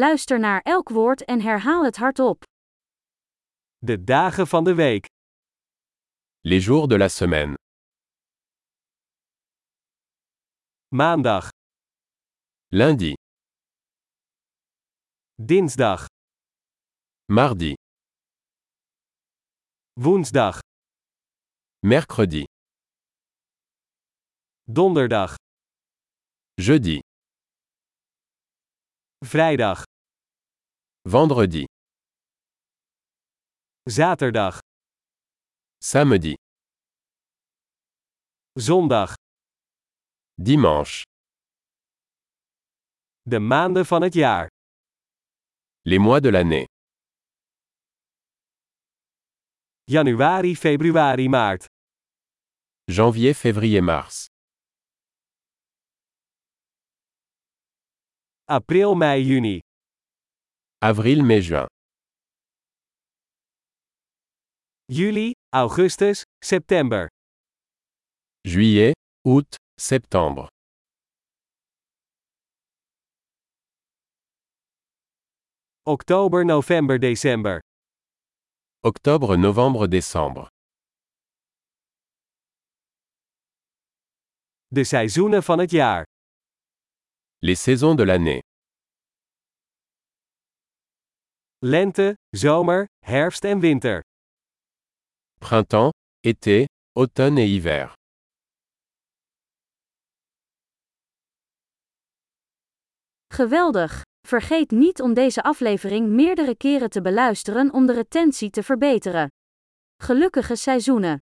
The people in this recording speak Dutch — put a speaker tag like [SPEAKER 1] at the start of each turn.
[SPEAKER 1] Luister naar elk woord en herhaal het hardop.
[SPEAKER 2] De dagen van de week.
[SPEAKER 3] Les jours de la semaine.
[SPEAKER 2] Maandag,
[SPEAKER 3] Lundi,
[SPEAKER 2] dinsdag,
[SPEAKER 3] mardi,
[SPEAKER 2] woensdag,
[SPEAKER 3] mercredi,
[SPEAKER 2] donderdag,
[SPEAKER 3] jeudi,
[SPEAKER 2] vrijdag,
[SPEAKER 3] vendredi,
[SPEAKER 2] zaterdag,
[SPEAKER 3] samedi,
[SPEAKER 2] zondag.
[SPEAKER 3] dimanche.
[SPEAKER 2] De maanden van het jaar.
[SPEAKER 3] Les mois de l'année.
[SPEAKER 2] Januari, februari, maart.
[SPEAKER 3] Janvier, février, mars.
[SPEAKER 2] April, mei, juni.
[SPEAKER 3] Avril, mai, juin.
[SPEAKER 2] Juli, augustus, september.
[SPEAKER 3] Juillet, août, septembre.
[SPEAKER 2] Oktober, november, december.
[SPEAKER 3] Octobre, novembre, décembre.
[SPEAKER 2] De seizoenen van het jaar.
[SPEAKER 3] Les saisons de l'année.
[SPEAKER 2] Lente, zomer, herfst en winter.
[SPEAKER 3] Printemps, été, automne et hiver.
[SPEAKER 1] Geweldig! Vergeet niet om deze aflevering meerdere keren te beluisteren om de retentie te verbeteren. Gelukkige seizoenen!